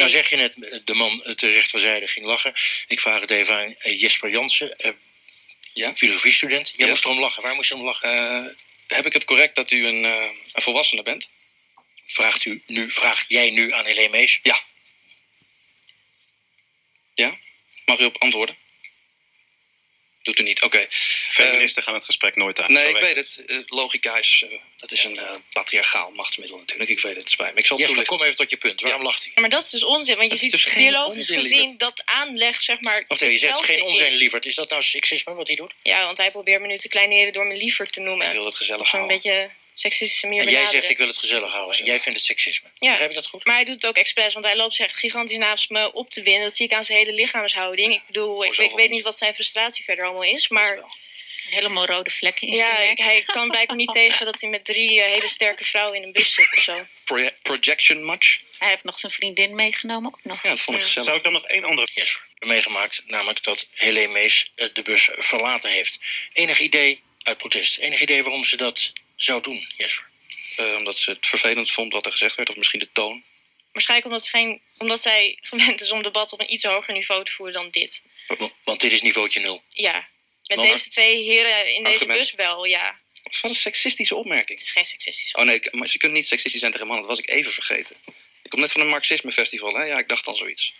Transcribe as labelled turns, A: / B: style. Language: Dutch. A: nou zeg je net, de man eh, ter rechterzijde ging lachen. Ik vraag het even aan eh, Jesper Jansen, eh,
B: Ja?
A: filosofiestudent. Jij
B: Ja.
A: moest erom lachen. Waar moest je om lachen?
B: Eh, heb ik het correct dat u een, eh, een volwassene bent?
A: Vraagt u nu, vraag jij nu aan Helene Mees?
B: Ja. Ja? Mag u op antwoorden? Doet u niet, oké.
C: Feministen gaan het gesprek nooit aan.
B: Nee,
C: Zo
B: ik
C: werkt
B: weet het. Eh, Logica is, eh, dat is een eh, patriarchaal machtsmiddel natuurlijk. Ik weet het, het spijt me. Ik zal het
A: Jesper,
B: toelichten.
A: kom even tot je punt. Waarom lacht hij?
D: Maar dat is dus onzin, want
B: Dat
D: je
B: is
D: ziet
B: dus geen
D: biologisch
B: onzin,
D: gezien
B: lieverd.
D: dat aanleg, zeg maar.
A: Wacht even, je zegt
D: hetzelfde
A: geen onzin,
D: is.
A: lieverd. Is dat nou seksisme wat hij doet?
D: Ja, want hij probeert me nu te kleineren door me liever te noemen.
B: Ik wil het
D: Op
B: gezellig
D: zo'n
B: houden.
D: beetje seksistische manier
A: En jij
D: benaderen.
A: zegt ik wil het gezellig houden. En jij vindt het seksisme.
D: Ja.
A: Begrijp ik dat goed?
D: Maar hij doet het ook expres, want hij loopt zich gigantisch naast me op te winnen. Dat zie ik aan zijn hele lichaamshouding. Ik bedoel, ik,
B: Hoezo
D: weet- ik weet
B: niet?
D: niet wat zijn frustratie verder allemaal is, maar...
E: Helemaal rode vlekken in
D: Ja,
E: zijn nek.
D: ik- hij kan blijkbaar niet tegen dat hij met drie eh, hele sterke vrouwen in een bus zit of zo.
B: Proje- projection match?
E: Hij heeft nog zijn vriendin meegenomen. Ook nog.
B: Ja, dat vond ik
D: Ja.
C: het.
B: gezellig.
C: Zou ik dan nog één andere...
A: Jesper, meegemaakt. Namelijk dat Helene Mees eh, de bus verlaten heeft. Enig idee, uit protest, enig idee waarom ze dat zou doen, Jesper?
B: Eh, omdat ze het vervelend vond wat er gezegd werd. Of misschien de toon.
D: Waarschijnlijk omdat, ze geen, omdat zij gewend is om debat op een iets hoger niveau te voeren dan dit.
A: Wa- Want dit is niveautje nul.
D: Ja, met
B: Want-
D: deze twee heren in deze
B: Argument.
D: bus wel, ja.
B: Wat een seksistische opmerking.
D: Het is geen seksistisch.
B: Oh nee, ik- maar ze kunnen niet seksistisch zijn tegen mannen. Dat was ik even vergeten. Ik kom net van een marxisme festival, hè? Ja, ik dacht al zoiets.